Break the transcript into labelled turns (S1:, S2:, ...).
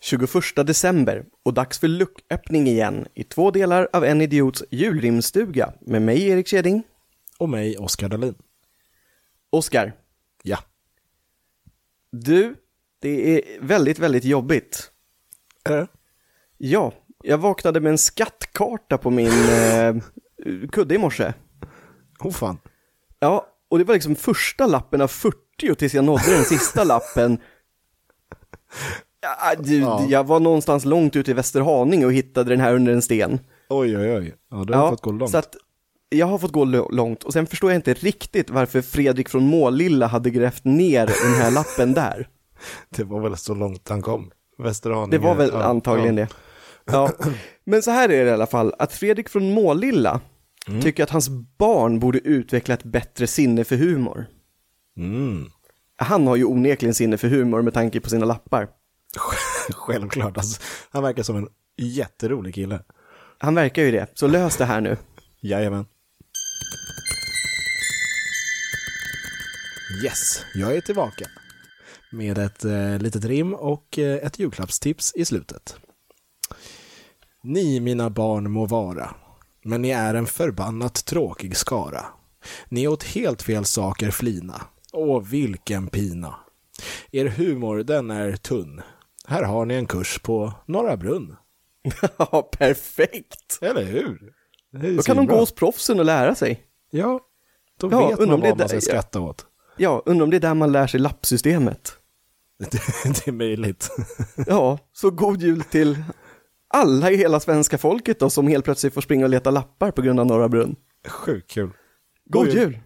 S1: 21 december och dags för lucköppning igen i två delar av En Idiots julrimstuga med mig Erik Keding.
S2: Och mig, Oskar Dahlin.
S1: Oskar,
S2: Ja.
S1: du, det är väldigt, väldigt jobbigt.
S2: Äh.
S1: Ja, jag vaknade med en skattkarta på min eh, kudde i morse.
S2: Oh fan.
S1: Ja, och det var liksom första lappen av 40 tills jag nådde den sista lappen. Ja, du,
S2: Ja.
S1: Jag var någonstans långt ute i Västerhaninge och hittade den här under en sten.
S2: Oj, oj, oj. Ja, du har fått gå långt.
S1: Så att jag har fått gå lo- långt och sen förstår jag inte riktigt varför Fredrik från Målilla hade grävt ner den här lappen där.
S2: Det var väl så långt han kom.
S1: Det
S2: Västerhaninge.
S1: var väl
S2: ja,
S1: antagligen
S2: ja.
S1: det. Ja. Men så här är det i alla fall, att Fredrik från Målilla
S2: Mm.
S1: tycker att hans barn borde utveckla ett bättre sinne för humor.
S2: Mm.
S1: Han har ju onekligen sinne för humor med tanke på sina lappar.
S2: Självklart. Alltså, han verkar som en jätterolig kille.
S1: Han verkar ju det, så lös det här nu.
S2: Jajamän. Yes, jag är tillbaka. Med ett eh, litet rim och eh, ett julklappstips i slutet. Ni mina barn må vara, men ni är en förbannat tråkig skara. Ni åt helt fel saker flina. Åh, vilken pina. Er humor, den är tunn. Här har ni en kurs på Norra Brunn.
S1: Ja, perfekt!
S2: Eller hur? Det är
S1: Då kan de
S2: svinbra.
S1: gå hos proffsen och lära sig.
S2: Ja, då
S1: Ja,
S2: vet
S1: undrar
S2: man
S1: om det är
S2: vad man ska
S1: där-
S2: skratta åt.
S1: Ja, undrar om det är där man lär sig lappsystemet.
S2: Det, det är möjligt.
S1: Ja, så god jul till alla i hela svenska folket då som helt plötsligt får springa och leta lappar på grund av Norra Brunn.
S2: Sjukt kul.
S1: God jul!